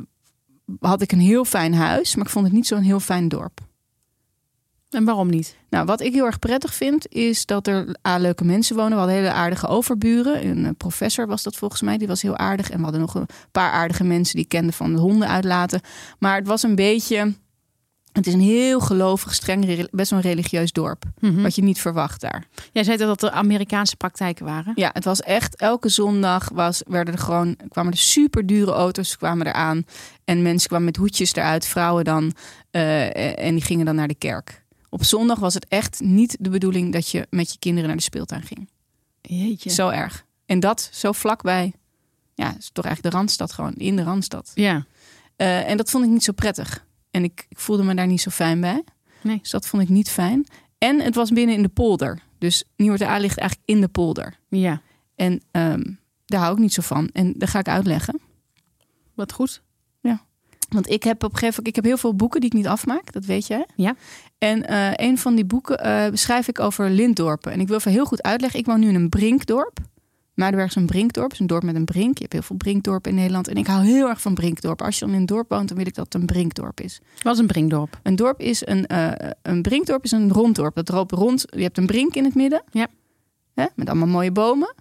Speaker 2: had ik een heel fijn huis, maar ik vond het niet zo'n heel fijn dorp.
Speaker 1: En waarom niet?
Speaker 2: Nou, wat ik heel erg prettig vind, is dat er A, leuke mensen wonen. We hadden hele aardige overburen. Een eh, professor was dat volgens mij, die was heel aardig. En we hadden nog een paar aardige mensen die ik kende van de honden uitlaten. Maar het was een beetje... Het is een heel gelovig, streng, re- best wel een religieus dorp.
Speaker 1: Hm. Mhm.
Speaker 2: Wat je niet verwacht daar.
Speaker 1: Jij zei dat dat de Amerikaanse praktijken waren.
Speaker 2: Ja, het was echt elke zondag was, werden er gewoon, kwamen er super dure auto's kwamen eraan. En mensen kwamen met hoedjes eruit, vrouwen dan. eh, en die gingen dan naar de kerk. Op zondag was het echt niet de bedoeling dat je met je kinderen naar de speeltuin ging.
Speaker 1: Jeetje.
Speaker 2: Zo erg. En dat zo vlakbij. Ja, is toch eigenlijk de Randstad gewoon, in de Randstad.
Speaker 1: Ja.
Speaker 2: Eh, en dat vond ik niet zo prettig. En ik, ik voelde me daar niet zo fijn bij.
Speaker 1: Nee.
Speaker 2: Dus dat vond ik niet fijn. En het was binnen in de polder. Dus Nieuwert A ligt eigenlijk in de polder.
Speaker 1: Ja.
Speaker 2: En ehm, daar hou ik niet zo van. En dat ga ik uitleggen.
Speaker 1: Wat goed.
Speaker 2: Want ik heb op een gegeven moment, ik heb heel veel boeken die ik niet afmaak, dat weet jij.
Speaker 1: Ja.
Speaker 2: En eh, een van die boeken eh, beschrijf ik over linddorpen. En ik wil even heel goed uitleggen. Ik woon nu in een brinkdorp. Muidenberg is een brinkdorp, is een dorp met een brink. Je hebt heel veel brinkdorpen in Nederland. En ik hou heel erg van brinkdorpen. Als je dan in een dorp woont, dan wil ik dat het een brinkdorp is.
Speaker 1: Was een brinkdorp.
Speaker 2: Een dorp is een, eh, een brinkdorp is een rond dorp. Dat loopt rond. Je hebt een brink in het midden.
Speaker 1: Ja.
Speaker 2: Hè, met allemaal mooie bomen.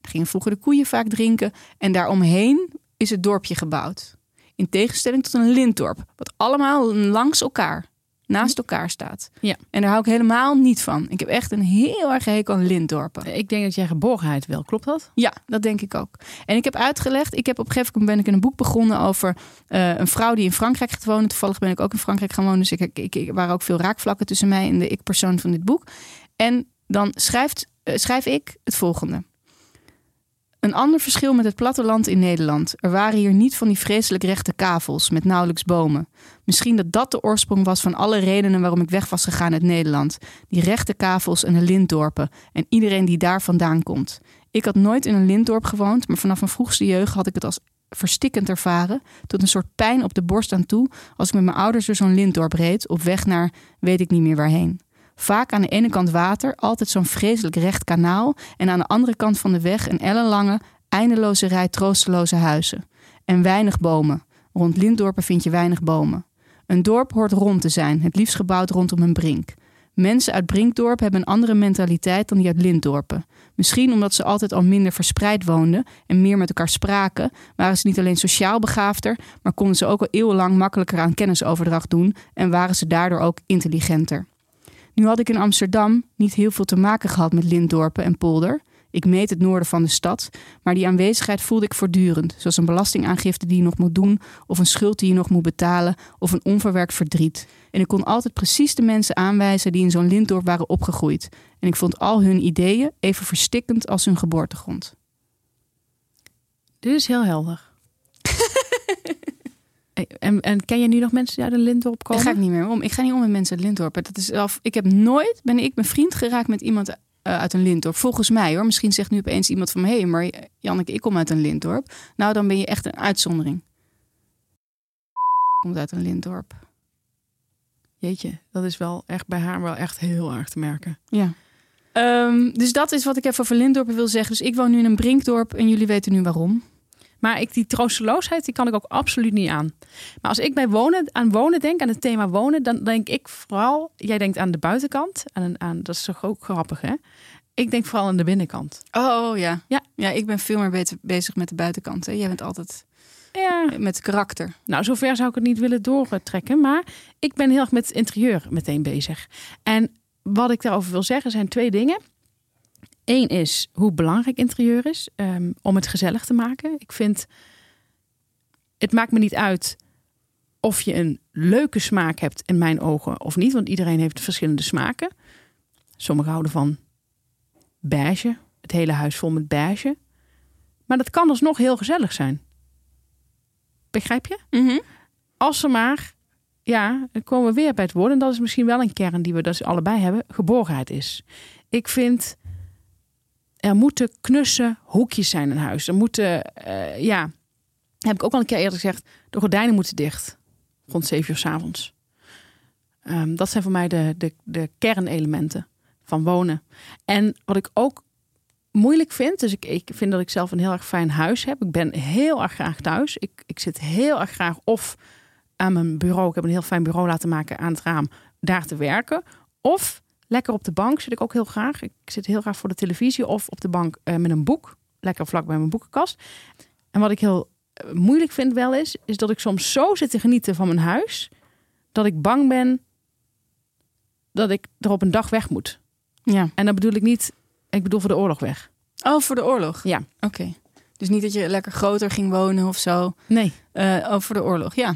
Speaker 2: Daar gingen vroeger de koeien vaak drinken. En daaromheen is het dorpje gebouwd. In tegenstelling tot een lintdorp. Wat allemaal langs elkaar. Naast elkaar staat.
Speaker 1: Ja.
Speaker 2: En daar hou ik helemaal niet van. Ik heb echt een heel erg hekel aan lintdorpen.
Speaker 1: Ik denk dat jij geborgenheid wil. Klopt dat?
Speaker 2: Ja, dat denk ik ook. En ik heb uitgelegd, ik heb op een gegeven moment ben ik in een boek begonnen over eh, een vrouw die in Frankrijk gaat wonen. Toevallig ben ik ook in Frankrijk gaan wonen, dus ik, ik, ik- er waren ook veel raakvlakken tussen mij en de ik-persoon van dit boek. En dan schrijft, eh, schrijf ik het volgende. Een ander verschil met het platteland in Nederland. Er waren hier niet van die vreselijk rechte kavels met nauwelijks bomen. Misschien dat dat de oorsprong was van alle redenen waarom ik weg was gegaan uit Nederland. Die rechte kavels en de lintdorpen en iedereen die daar vandaan komt. Ik had nooit in een lintdorp gewoond, maar vanaf mijn vroegste jeugd had ik het als verstikkend ervaren. Tot een soort pijn op de borst aan toe als ik met mijn ouders door zo'n lintdorp reed op weg naar weet ik niet meer waarheen. Vaak aan de ene kant water, altijd zo'n vreselijk recht kanaal en aan de andere kant van de weg een ellenlange, eindeloze rij troosteloze huizen. En weinig bomen. Rond lintdorpen vind je weinig bomen. Een dorp hoort rond te zijn, het liefst gebouwd rondom een brink. Mensen uit Brinkdorp hebben een andere mentaliteit dan die uit Lintdorpen. Misschien omdat ze altijd al minder verspreid woonden en meer met elkaar spraken, waren ze niet alleen sociaal begaafder, maar konden ze ook al eeuwenlang makkelijker aan kennisoverdracht doen en waren ze daardoor ook intelligenter. Nu had ik in Amsterdam niet heel veel te maken gehad met Lintdorpen en Polder. Ik meet het noorden van de stad, maar die aanwezigheid voelde ik voortdurend, zoals een belastingaangifte die je nog moet doen, of een schuld die je nog moet betalen, of een onverwerkt verdriet. En ik kon altijd precies de mensen aanwijzen die in zo'n Lintdorp waren opgegroeid. En ik vond al hun ideeën even verstikkend als hun geboortegrond.
Speaker 1: Dit is heel helder. en, en ken je nu nog mensen die uit een lintdorp
Speaker 2: Daar
Speaker 1: komen?
Speaker 2: ga ik niet meer om. Ik ga niet om met mensen uit Lintdorp. Dat is af. Ik heb nooit, ben ik mijn vriend geraakt met iemand eh, uit een Lintdorp. Volgens mij hoor. Misschien zegt nu opeens iemand van, hé, hey, maar Janneke, ik kom uit een Lintdorp. Nou, dan ben je echt een uitzondering. Komt uit een Lintdorp.
Speaker 1: Jeetje, dat is wel echt bij haar wel echt heel erg te merken.
Speaker 2: Ja. Ehm, dus dat is wat ik even over Lintdorpen wil zeggen. Dus ik woon nu in een Brinkdorp en jullie weten nu waarom.
Speaker 1: Maar ik, die troosteloosheid die kan ik ook absoluut niet aan. Maar als ik bij wonen, aan wonen denk, aan het thema wonen, dan denk ik vooral, jij denkt aan de buitenkant. Aan, een- aan, dat is toch ook grappig, hè? Ik denk vooral aan de binnenkant.
Speaker 2: Oh ja.
Speaker 1: Ja.
Speaker 2: Ja, ja ik ben veel meer beter bezig met de buitenkant. Hè. Jij bent altijd
Speaker 1: Ja.
Speaker 2: met karakter.
Speaker 1: Nou, zover zou ik het niet willen doortrekken. Maar ik ben heel erg met het interieur meteen bezig. En wat ik daarover wil zeggen zijn twee dingen. Eén is hoe belangrijk interieur is ehm, om het gezellig te maken. Ik vind, het maakt me niet uit of je een leuke smaak hebt in mijn ogen of niet. Want iedereen heeft verschillende smaken. Sommigen houden van beige, het hele huis vol met beige. Maar dat kan alsnog heel gezellig zijn. Begrijp je?
Speaker 2: Mhm.
Speaker 1: Als ze maar, ja, dan komen we weer bij het woord. En dat is misschien wel een kern die we dus allebei hebben. Geborgenheid is. Ik vind, er moeten knusse hoekjes zijn in huis. Er moeten, eh, ja, heb ik ook al een keer eerder gezegd. De gordijnen moeten dicht. Rond 7 uur s avonds. Ehm, dat zijn voor mij de, de, de kernelementen van wonen. En wat ik ook moeilijk vind. Dus ik, ik vind dat ik zelf een heel erg fijn huis heb. Ik ben heel erg graag thuis. Ik, ik zit heel erg graag of aan mijn bureau. Ik heb een heel fijn bureau laten maken aan het raam. Daar te werken. Of lekker op de bank zit ik ook heel graag. Ik zit heel graag voor de televisie. Of op de bank eh, met een boek. Lekker vlak bij mijn boekenkast. En wat ik heel eh, moeilijk vind wel is... is dat ik soms zo zit te genieten van mijn huis... dat ik bang ben dat ik er op een dag weg moet.
Speaker 2: Ja.
Speaker 1: En dat bedoel ik niet... Ik bedoel voor de oorlog weg.
Speaker 2: Oh, voor de oorlog?
Speaker 1: Ja.
Speaker 2: Oké. Dus niet dat je lekker groter ging wonen of zo.
Speaker 1: Nee.
Speaker 2: Eh oh, voor de oorlog, ja.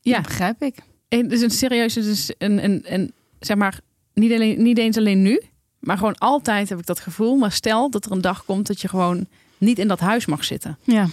Speaker 1: Ja.
Speaker 2: Dat begrijp ik.
Speaker 1: En het is een serieus, het is een, een, een, zeg maar, niet, alleen, niet eens alleen nu, maar gewoon altijd heb ik dat gevoel. Maar stel dat er een dag komt dat je gewoon niet in dat huis mag zitten.
Speaker 2: Ja.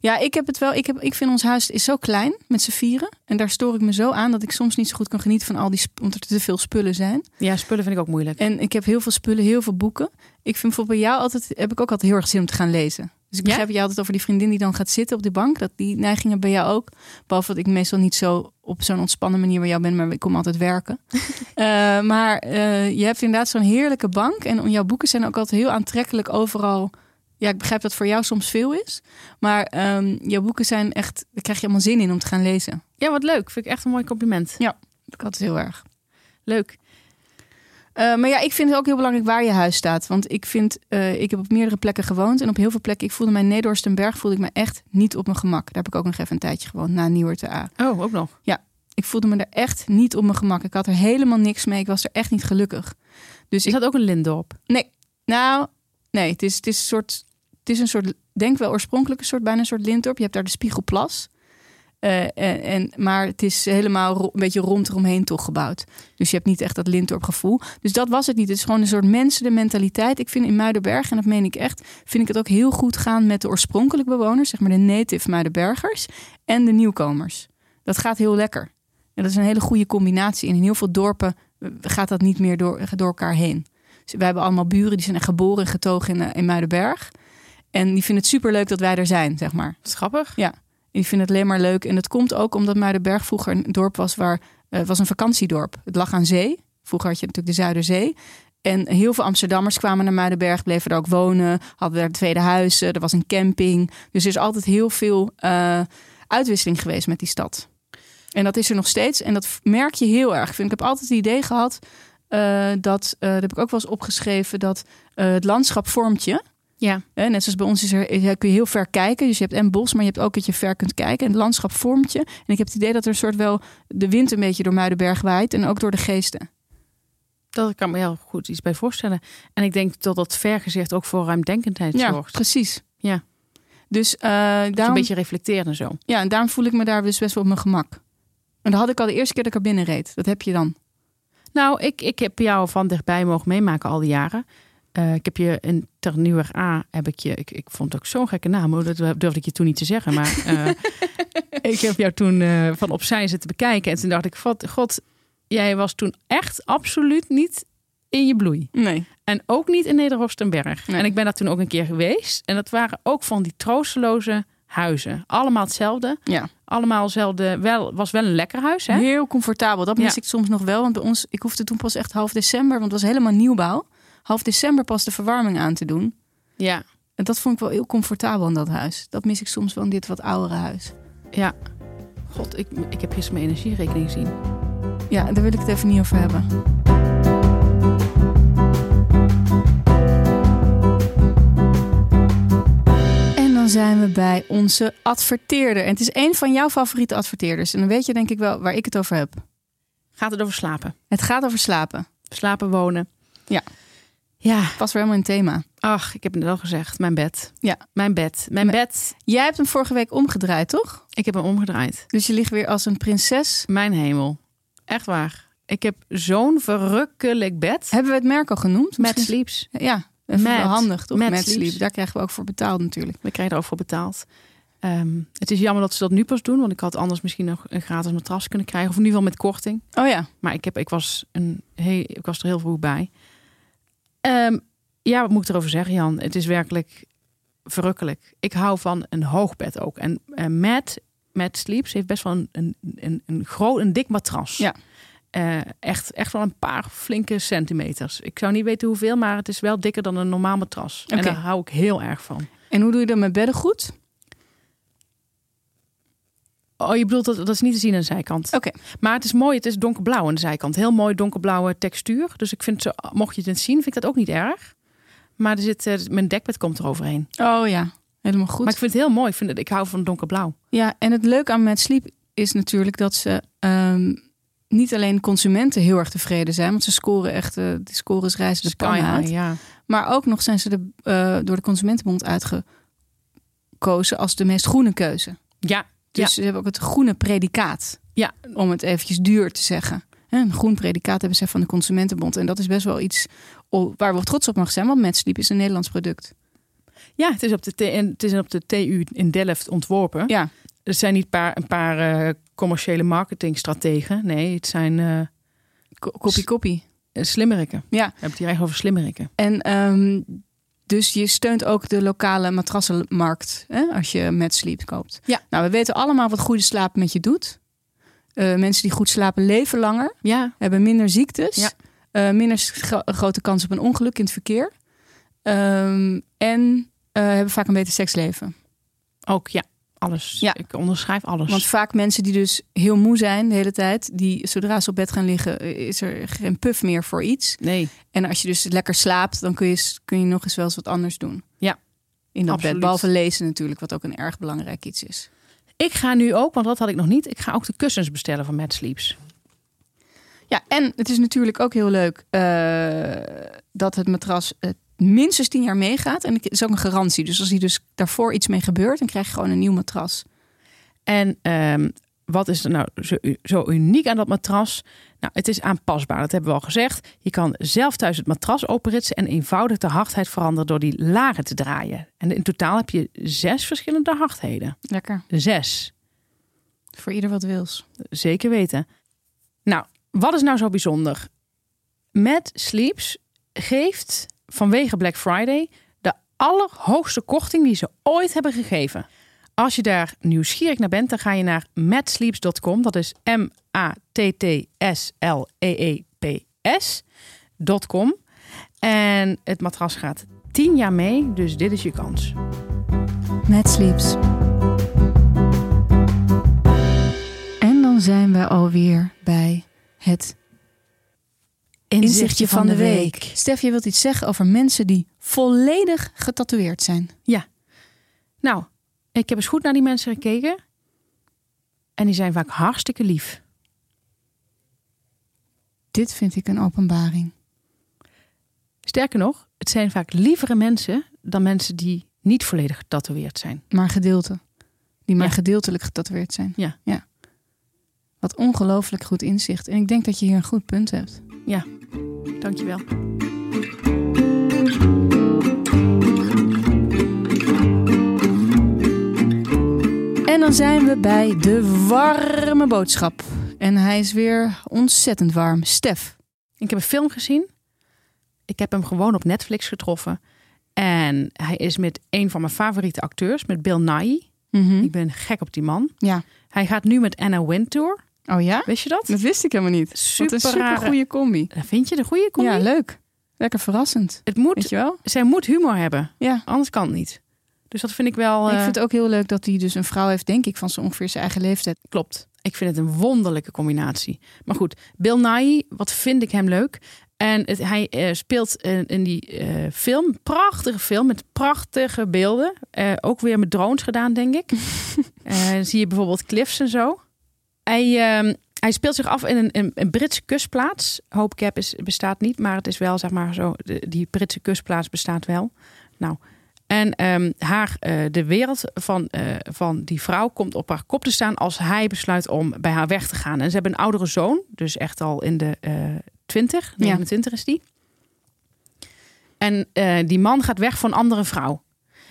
Speaker 2: Ja, ik heb het wel. Ik, heb, ik vind ons huis is zo klein met z'n vieren. En daar stoor ik me zo aan dat ik soms niet zo goed kan genieten van al die. sp- omdat er te veel spullen zijn.
Speaker 1: Ja, spullen vind ik ook moeilijk.
Speaker 2: En ik heb heel veel spullen, heel veel boeken. Ik vind bijvoorbeeld bij jou altijd. heb ik ook altijd heel erg zin om te gaan lezen. Dus ik
Speaker 1: Ja?
Speaker 2: begrijp je altijd over die vriendin die dan gaat zitten op die bank. Dat die neigingen bij jou ook. Behalve dat ik meestal niet zo op zo'n ontspannen manier bij jou ben, maar ik kom altijd werken. Eh, maar eh, je hebt inderdaad zo'n heerlijke bank. En jouw boeken zijn ook altijd heel aantrekkelijk overal. Ja, ik begrijp dat voor jou soms veel is. Maar ehm, jouw boeken zijn echt. Daar krijg je allemaal zin in om te gaan lezen.
Speaker 1: Ja, wat leuk. Vind ik echt een mooi compliment.
Speaker 2: Dat is heel erg.
Speaker 1: Leuk.
Speaker 2: Eh, maar ja, ik vind het ook heel belangrijk waar je huis staat. Want ik vind, eh, ik heb op meerdere plekken gewoond. En op heel veel plekken, ik voelde mij in Nederhorstenberg voelde ik me echt niet op mijn gemak. Daar heb ik ook nog even een tijdje gewoond, na Nieuwert A.
Speaker 1: Oh, ook nog.
Speaker 2: Ik voelde me daar echt niet op mijn gemak. Ik had er helemaal niks mee. Ik was er echt niet gelukkig.
Speaker 1: Is
Speaker 2: Dus ik,
Speaker 1: dat ook een Lindorp?
Speaker 2: nou, nee, het is, het is een soort, het is een soort, denk wel oorspronkelijk een soort, bijna een soort Lindorp. Je hebt daar de Spiegelplas. Eh, en, en, maar het is helemaal ro- een beetje rond eromheen toch gebouwd. Dus je hebt niet echt dat Lindorp gevoel. Dus dat was het niet. Het is gewoon een soort mensen, de mentaliteit. Ik vind in Muidenberg, en dat meen ik echt, vind ik het ook heel goed gaan met de oorspronkelijke bewoners, zeg maar de native Muidenbergers en de nieuwkomers. Dat gaat heel lekker. En dat is een hele goede combinatie. En in heel veel dorpen eh, gaat dat niet meer door, door elkaar heen. Dus wij hebben allemaal buren die zijn echt geboren en getogen in, eh, in Muidenberg. En die vinden het superleuk dat wij er zijn, zeg maar.
Speaker 1: Dat is grappig.
Speaker 2: Ik vind het alleen maar leuk. En dat komt ook omdat Muidenberg vroeger een dorp was waar eh, het was een vakantiedorp. Het lag aan zee. Vroeger had je natuurlijk de Zuiderzee. En heel veel Amsterdammers kwamen naar Muidenberg, bleven daar ook wonen, hadden daar tweede huizen, er was een camping. Dus er is altijd heel veel eh, uitwisseling geweest met die stad. En dat is er nog steeds en dat v- merk je heel erg. Ik, vind, ik heb altijd het idee gehad eh, dat, eh, dat heb ik ook wel eens opgeschreven, dat eh, het landschap vormt je.
Speaker 1: Ja.
Speaker 2: Hè, net zoals bij ons is er, is- kun je heel ver kijken. Dus je hebt en bos, maar je hebt ook dat je ver kunt kijken. En het landschap vormt je. En ik heb het idee dat er een soort wel de wind een beetje door Muidenberg waait. En ook door de geesten.
Speaker 1: Dat kan ik me heel goed iets bij voorstellen. En ik denk dat dat vergezicht ook voor ruimdenkendheid
Speaker 2: ja,
Speaker 1: zorgt. Dat
Speaker 2: precies.
Speaker 1: Ja.
Speaker 2: Dus eh,
Speaker 1: je
Speaker 2: daarom,
Speaker 1: een beetje reflecteert en zo.
Speaker 2: ja, en daarom voel ik me daar dus best wel op mijn gemak. En dat had ik al de eerste keer dat ik er binnen reed. Dat heb je dan.
Speaker 1: Nou, ik, ik heb jou van dichtbij mogen meemaken al die jaren. Eh, ik heb je in Ter Nieuwer A heb ik je. Ik, ik vond het ook zo'n gekke naam. hoor. Dat durfde ik je toen niet te zeggen. Maar eh, ik heb jou toen eh, van opzij zitten bekijken. En toen dacht ik: "Vat- God, jij was toen echt absoluut niet in je bloei.
Speaker 2: Nee.
Speaker 1: En ook niet in Nederhorstenberg.
Speaker 2: Nee.
Speaker 1: En ik ben daar toen ook een keer geweest. En dat waren ook van die troosteloze huizen. Allemaal hetzelfde.
Speaker 2: Ja.
Speaker 1: Allemaal hetzelfde. Wel, was wel een lekker huis, hè?
Speaker 2: Heel comfortabel. Dat mis
Speaker 1: Ja.
Speaker 2: ik soms nog wel. Want bij ons, ik hoefde toen pas echt half december, want het was helemaal nieuwbouw. Half december pas de verwarming aan te doen.
Speaker 1: Ja.
Speaker 2: En dat vond ik wel heel comfortabel in dat huis. Dat mis ik soms wel in dit wat oudere huis.
Speaker 1: Ja. God, ik, ik heb gisteren mijn energierekening gezien.
Speaker 2: Ja, daar wil ik het even niet over hebben. En dan zijn we bij onze adverteerder. En het is een van jouw favoriete adverteerders. En dan weet je denk ik wel waar ik het over heb.
Speaker 1: Gaat het over slapen?
Speaker 2: Het gaat over slapen.
Speaker 1: Slapen, wonen.
Speaker 2: Ja.
Speaker 1: Ja,
Speaker 2: Pas weer helemaal in het thema.
Speaker 1: ach, ik heb het al gezegd. Mijn bed.
Speaker 2: Ja.
Speaker 1: Mijn bed. Mijn
Speaker 2: Mijn-
Speaker 1: bed.
Speaker 2: Jij hebt hem vorige week omgedraaid, toch?
Speaker 1: Ik heb hem omgedraaid.
Speaker 2: Dus je ligt weer als een prinses.
Speaker 1: Mijn hemel. Echt waar. Ik heb zo'n verrukkelijk bed.
Speaker 2: Hebben we het merk al
Speaker 1: Met
Speaker 2: genoemd? Misschien-
Speaker 1: sleeps.
Speaker 2: Ja, Dat is wel
Speaker 1: Mad-
Speaker 2: handig, toch?
Speaker 1: Mad
Speaker 2: Mad sleep.
Speaker 1: Sleeps.
Speaker 2: Daar krijgen we ook voor betaald natuurlijk.
Speaker 1: We krijgen daarover betaald. Ehm, het is jammer dat ze dat nu pas doen, want ik had anders misschien nog een gratis matras kunnen krijgen. Of in ieder geval met korting.
Speaker 2: Oh ja.
Speaker 1: Maar ik, heb, ik, was een heel, ik was er heel vroeg bij. Ehm, ja, wat moet ik erover zeggen, Jan? Het is werkelijk verrukkelijk. Ik hou van een hoog bed ook. En eh Matt, Matt Sleeps heeft best wel een, een, een, een groot, een dik matras.
Speaker 2: Ja.
Speaker 1: Eh, echt, echt wel een paar flinke centimeters. Ik zou niet weten hoeveel, maar het is wel dikker dan een normaal matras. En
Speaker 2: Oké.
Speaker 1: daar hou ik heel erg van.
Speaker 2: En hoe doe je dat met bedden goed?
Speaker 1: Oh, je bedoelt dat, dat is niet te zien aan de zijkant.
Speaker 2: Oké.
Speaker 1: Maar het is mooi, het is donkerblauw aan de zijkant. Heel mooi donkerblauwe textuur. Dus ik vind, ze, mocht je het zien, vind ik dat ook niet erg. Maar er zit, eh, mijn dekbed komt eroverheen.
Speaker 2: Oh ja, helemaal goed.
Speaker 1: Maar ik vind het heel mooi. Ik, vind het, ik hou van donkerblauw.
Speaker 2: Ja, en het leuke aan Mad Sleep is natuurlijk dat ze ehm, niet alleen consumenten heel erg tevreden zijn, want ze scoren echt, eh die scores
Speaker 1: Dus
Speaker 2: reizen de pan
Speaker 1: Sky
Speaker 2: uit.
Speaker 1: high, ja.
Speaker 2: Maar ook nog zijn ze de, eh, door de Consumentenbond uitgekozen als de meest groene keuze.
Speaker 1: Ja,
Speaker 2: Dus ze hebben ook het groene predicaat,
Speaker 1: Ja.
Speaker 2: om het eventjes duur te zeggen. Hè, Een groen predicaat hebben ze van de Consumentenbond. En dat is best wel iets o- waar we trots op mag zijn, want Mad Sleep is een Nederlands product.
Speaker 1: ja het, is op de, T- en het is op de TU in Delft ontworpen.
Speaker 2: Ja,
Speaker 1: Het zijn niet paar, een paar eh, commerciële marketingstrategen. Nee, het zijn eh
Speaker 2: ko- kopie kopie.
Speaker 1: slimmerikken. We
Speaker 2: Ja.
Speaker 1: hebben het hier eigenlijk over slimmerikken.
Speaker 2: En ehm, dus je steunt ook de lokale matrassenmarkt hè, als je met sleep koopt.
Speaker 1: Ja.
Speaker 2: Nou, we weten allemaal wat goede slaap met je doet. Eh, mensen die goed slapen leven langer,
Speaker 1: Ja,
Speaker 2: hebben minder ziektes,
Speaker 1: Ja.
Speaker 2: eh, minder scho- grote kans op een ongeluk in het verkeer. Ehm, en eh, hebben vaak een beter seksleven.
Speaker 1: ook ja. Alles.
Speaker 2: Ja.
Speaker 1: Ik onderschrijf alles.
Speaker 2: Want vaak mensen die dus heel moe zijn de hele tijd, die zodra ze op bed gaan liggen, eh, is er geen puff meer voor iets.
Speaker 1: nee.
Speaker 2: En als je dus lekker slaapt, dan kun je, kun je nog eens wel eens wat anders doen.
Speaker 1: Ja.
Speaker 2: In dat
Speaker 1: Absoluut.
Speaker 2: bed. Behalve lezen natuurlijk, wat ook een erg belangrijk iets is.
Speaker 1: Ik ga nu ook, want dat had ik nog niet. Ik ga ook de kussens bestellen van Mad Sleeps.
Speaker 2: Ja, en het is natuurlijk ook heel leuk eh, dat het matras eh, minstens tien jaar meegaat. En het is ook een garantie. Dus als hier dus daarvoor iets mee gebeurt, dan krijg je gewoon een nieuw matras.
Speaker 1: En ehm, wat is er nou zo, zo uniek aan dat matras? Nou, het is aanpasbaar, dat hebben we al gezegd. Je kan zelf thuis het matras openritsen en eenvoudig de hardheid veranderen door die lagen te draaien. En in totaal heb je zes verschillende hardheden.
Speaker 2: Lekker.
Speaker 1: Zes,
Speaker 2: Voor ieder wat wils.
Speaker 1: zeker weten. Nou, wat is nou zo bijzonder? Mad Sleeps geeft vanwege Black Friday de allerhoogste korting die ze ooit hebben gegeven. Als je daar nieuwsgierig naar bent, dan ga je naar matsleeps.com. Dat is E M-A-T-T-S-L-E-E-P-S.com. En het matras gaat 10 jaar mee, dus dit is je kans.
Speaker 2: Met Sleeps. En dan zijn we alweer bij het Inzichtje van de week. Stef, je wilt iets zeggen over mensen die volledig getatoeëerd zijn.
Speaker 1: Nou, ik heb eens goed naar die mensen gekeken. En die zijn vaak hartstikke lief.
Speaker 2: Dit vind ik een openbaring.
Speaker 1: Sterker nog, het zijn vaak lievere mensen dan mensen die niet volledig getatoeëerd zijn.
Speaker 2: Maar gedeelte. Die maar
Speaker 1: Ja.
Speaker 2: gedeeltelijk getatoeëerd zijn.
Speaker 1: Ja.
Speaker 2: ja. Wat ongelooflijk goed inzicht. En ik denk dat je hier een goed punt hebt.
Speaker 1: Dankjewel.
Speaker 2: En dan zijn we bij de warme boodschap. En hij is weer ontzettend warm. Stef.
Speaker 1: Ik heb een film gezien. Ik heb hem gewoon op Netflix getroffen. En hij is met een van mijn favoriete acteurs, met Bill Nighy.
Speaker 2: Mhm.
Speaker 1: Ik ben gek op die man.
Speaker 2: Hm? Ja.
Speaker 1: Hij gaat nu met Anna Wintour.
Speaker 2: Oh ja?
Speaker 1: Wist je dat?
Speaker 2: Dat wist ik helemaal niet.
Speaker 1: Super,
Speaker 2: Wat een super goede combi.
Speaker 1: Vind je de goede comedy?
Speaker 2: Ja, leuk. Lekker verrassend.
Speaker 1: het moet,
Speaker 2: Weet je wel?
Speaker 1: Zij moet humor hebben.
Speaker 2: Ja.
Speaker 1: Anders kan het niet. Dus dat vind ik wel...
Speaker 2: Ik
Speaker 1: eh,
Speaker 2: vind het ook heel leuk dat hij dus een vrouw heeft, denk ik, van zo ongeveer zijn eigen leeftijd.
Speaker 1: Klopt. Ik vind het een wonderlijke combinatie. Maar goed, Bill Nighy, wat vind ik hem leuk. En het, hij eh, speelt eh, in die eh, film, prachtige film met prachtige beelden. Eh, ook weer met drones gedaan, denk ik. Eh, dan zie je bijvoorbeeld cliffs en zo. Hij, ehm, hij speelt zich af in een, een, een Britse kustplaats. Hope Cap is, bestaat niet, maar het is wel, zeg maar zo, de- die Britse kustplaats bestaat wel. Nou, en ehm, haar, eh, de wereld van, eh, van die vrouw komt op haar kop te staan als hij besluit om bij haar weg te gaan. En ze hebben een oudere zoon, dus echt al in de eh 20,
Speaker 2: Ja.
Speaker 1: 29 is die. En eh, die man gaat weg voor een andere vrouw.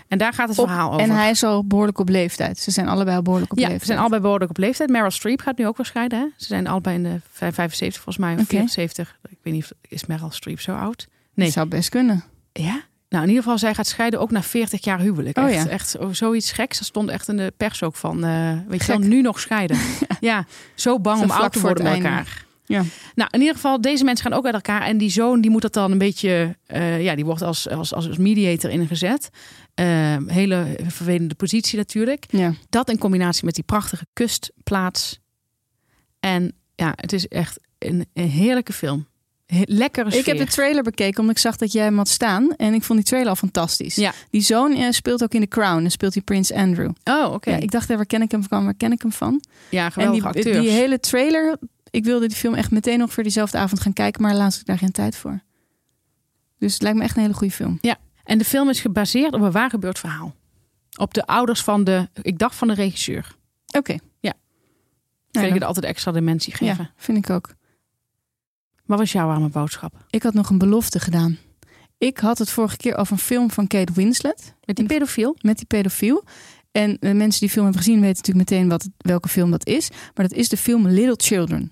Speaker 1: En daar gaat het
Speaker 2: Op-
Speaker 1: verhaal over.
Speaker 2: En hij is al behoorlijk op leeftijd. Ze zijn allebei al behoorlijk op
Speaker 1: ja,
Speaker 2: leeftijd.
Speaker 1: ze zijn allebei behoorlijk op leeftijd. Meryl Streep gaat nu ook weer scheiden. Hè? Ze zijn allebei in de vijf- 75 volgens mij. Of
Speaker 2: Oké.
Speaker 1: 74. Ik weet niet, of- is Meryl Streep zo oud? nee.
Speaker 2: Dat zou best kunnen.
Speaker 1: Ja. Nou, in ieder geval, zij gaat scheiden ook na 40 jaar huwelijk.
Speaker 2: Oh,
Speaker 1: echt,
Speaker 2: ja.
Speaker 1: echt zo- zoiets geks. Er stond echt in de pers ook van, eh, weet je wel,
Speaker 2: Gek.
Speaker 1: nu nog scheiden. ja, zo bang
Speaker 2: Zo
Speaker 1: om
Speaker 2: vlak
Speaker 1: oud te
Speaker 2: voor
Speaker 1: worden
Speaker 2: het
Speaker 1: bij
Speaker 2: einde.
Speaker 1: elkaar.
Speaker 2: Ja.
Speaker 1: Nou, in ieder geval, deze mensen gaan ook uit elkaar. En die zoon, die moet dat dan een beetje... eh, ja, die wordt als, als, als, als mediator ingezet. Eh, hele vervelende positie natuurlijk.
Speaker 2: Ja.
Speaker 1: Dat in combinatie met die prachtige kustplaats. En ja, het is echt een, een heerlijke film. He- lekkere sfeer.
Speaker 2: Ik heb de trailer bekeken omdat ik zag dat jij hem had staan. En ik vond die trailer al fantastisch.
Speaker 1: Ja.
Speaker 2: Die zoon eh, speelt ook in The Crown. En speelt hij Prins Andrew.
Speaker 1: Oh, oké.
Speaker 2: Ja, ik dacht, hè, waar ken ik hem van? Waar ken ik hem van?
Speaker 1: Ja,
Speaker 2: En
Speaker 1: geweldige
Speaker 2: die,
Speaker 1: acteurs.
Speaker 2: die hele trailer... Ik wilde die film echt meteen nog voor diezelfde avond gaan kijken. Maar helaas had ik daar geen tijd voor. Dus het lijkt me echt een hele goede film.
Speaker 1: En de film is gebaseerd op een waar gebeurd verhaal. Op de ouders van de, ik dacht van de regisseur. Kan
Speaker 2: Oké.
Speaker 1: Ja.
Speaker 2: Nou,
Speaker 1: ik
Speaker 2: dan-
Speaker 1: het altijd extra dimensie geven.
Speaker 2: ja, vind ik ook.
Speaker 1: Wat was jouw arme boodschap?
Speaker 2: Ik had nog een belofte gedaan. Ik had het vorige keer over een film van Kate Winslet
Speaker 1: Met die pedofiel?
Speaker 2: met die pedofiel. En de mensen die de film hebben gezien weten natuurlijk meteen wat, het- welke film dat is. Maar dat is de film Little Children.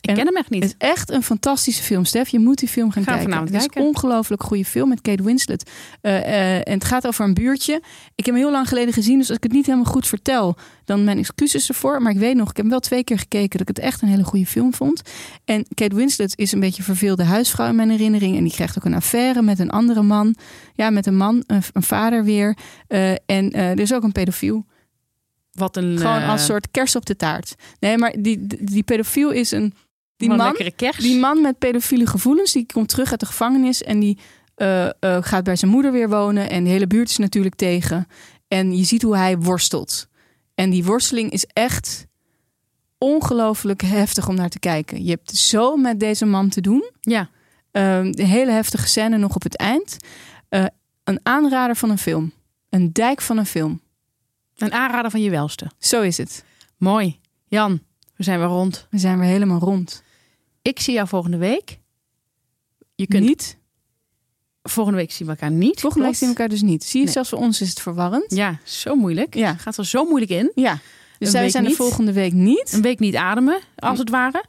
Speaker 1: Ik
Speaker 2: En-
Speaker 1: ken hem echt niet.
Speaker 2: Het is echt een fantastische film, Stef. Je moet die film gaan
Speaker 1: Gaan we
Speaker 2: kijken.
Speaker 1: vanavond
Speaker 2: het is
Speaker 1: kijken.
Speaker 2: een ongelooflijk goede film met Kate Winslet. Eh, eh, en het gaat over een buurtje. Ik heb hem heel lang geleden gezien, dus als ik het niet helemaal goed vertel, dan mijn excuses ervoor. Maar ik weet nog, ik heb hem wel twee keer gekeken dat ik het echt een hele goede film vond. En Kate Winslet is een beetje een verveelde huisvrouw in mijn herinnering. En die krijgt ook een affaire met een andere man. Ja, met een man, een, een vader weer. Eh, en eh, er is ook een pedofiel.
Speaker 1: Wat een,
Speaker 2: Gewoon
Speaker 1: eh,
Speaker 2: als soort kers op de taart. Nee, maar die, die, die pedofiel is een. Die
Speaker 1: wat een
Speaker 2: man
Speaker 1: lekkere kerst.
Speaker 2: die man met pedofiele gevoelens, die komt terug uit de gevangenis en die eh, eh, gaat bij zijn moeder weer wonen. En de hele buurt is natuurlijk tegen. En je ziet hoe hij worstelt. En die worsteling is echt ongelooflijk heftig om naar te kijken. Je hebt zo met deze man te doen.
Speaker 1: Ja.
Speaker 2: Ehm, de hele heftige scène nog op het eind. Eh, een aanrader van een film. Een dijk van een film.
Speaker 1: Een aanrader van je welste.
Speaker 2: Zo is het.
Speaker 1: Mooi. Jan, we zijn weer rond.
Speaker 2: We zijn weer helemaal rond.
Speaker 1: Ik zie jou volgende week. Je kunt
Speaker 2: Niet?
Speaker 1: volgende week zien we elkaar niet.
Speaker 2: Volgende
Speaker 1: klopt.
Speaker 2: week zien we elkaar dus niet. Zie je,
Speaker 1: Nee.
Speaker 2: zelfs voor ons is het verwarrend.
Speaker 1: Ja, zo moeilijk.
Speaker 2: Ja.
Speaker 1: Gaat er zo moeilijk in.
Speaker 2: Ja. Dus
Speaker 1: Een
Speaker 2: wij
Speaker 1: week
Speaker 2: zijn
Speaker 1: niet.
Speaker 2: de volgende week niet.
Speaker 1: Een week niet ademen, als het ware.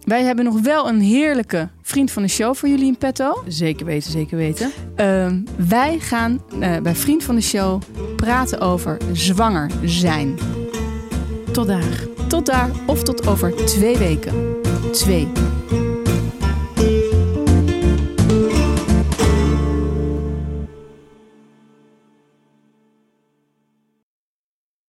Speaker 2: Wij hebben nog wel een heerlijke vriend van de show voor jullie in petto.
Speaker 1: Zeker weten, zeker weten.
Speaker 2: Ehm, wij gaan eh, bij vriend van de show praten over zwanger zijn.
Speaker 1: Tot daar.
Speaker 2: Tot daar of tot over twee weken. Twee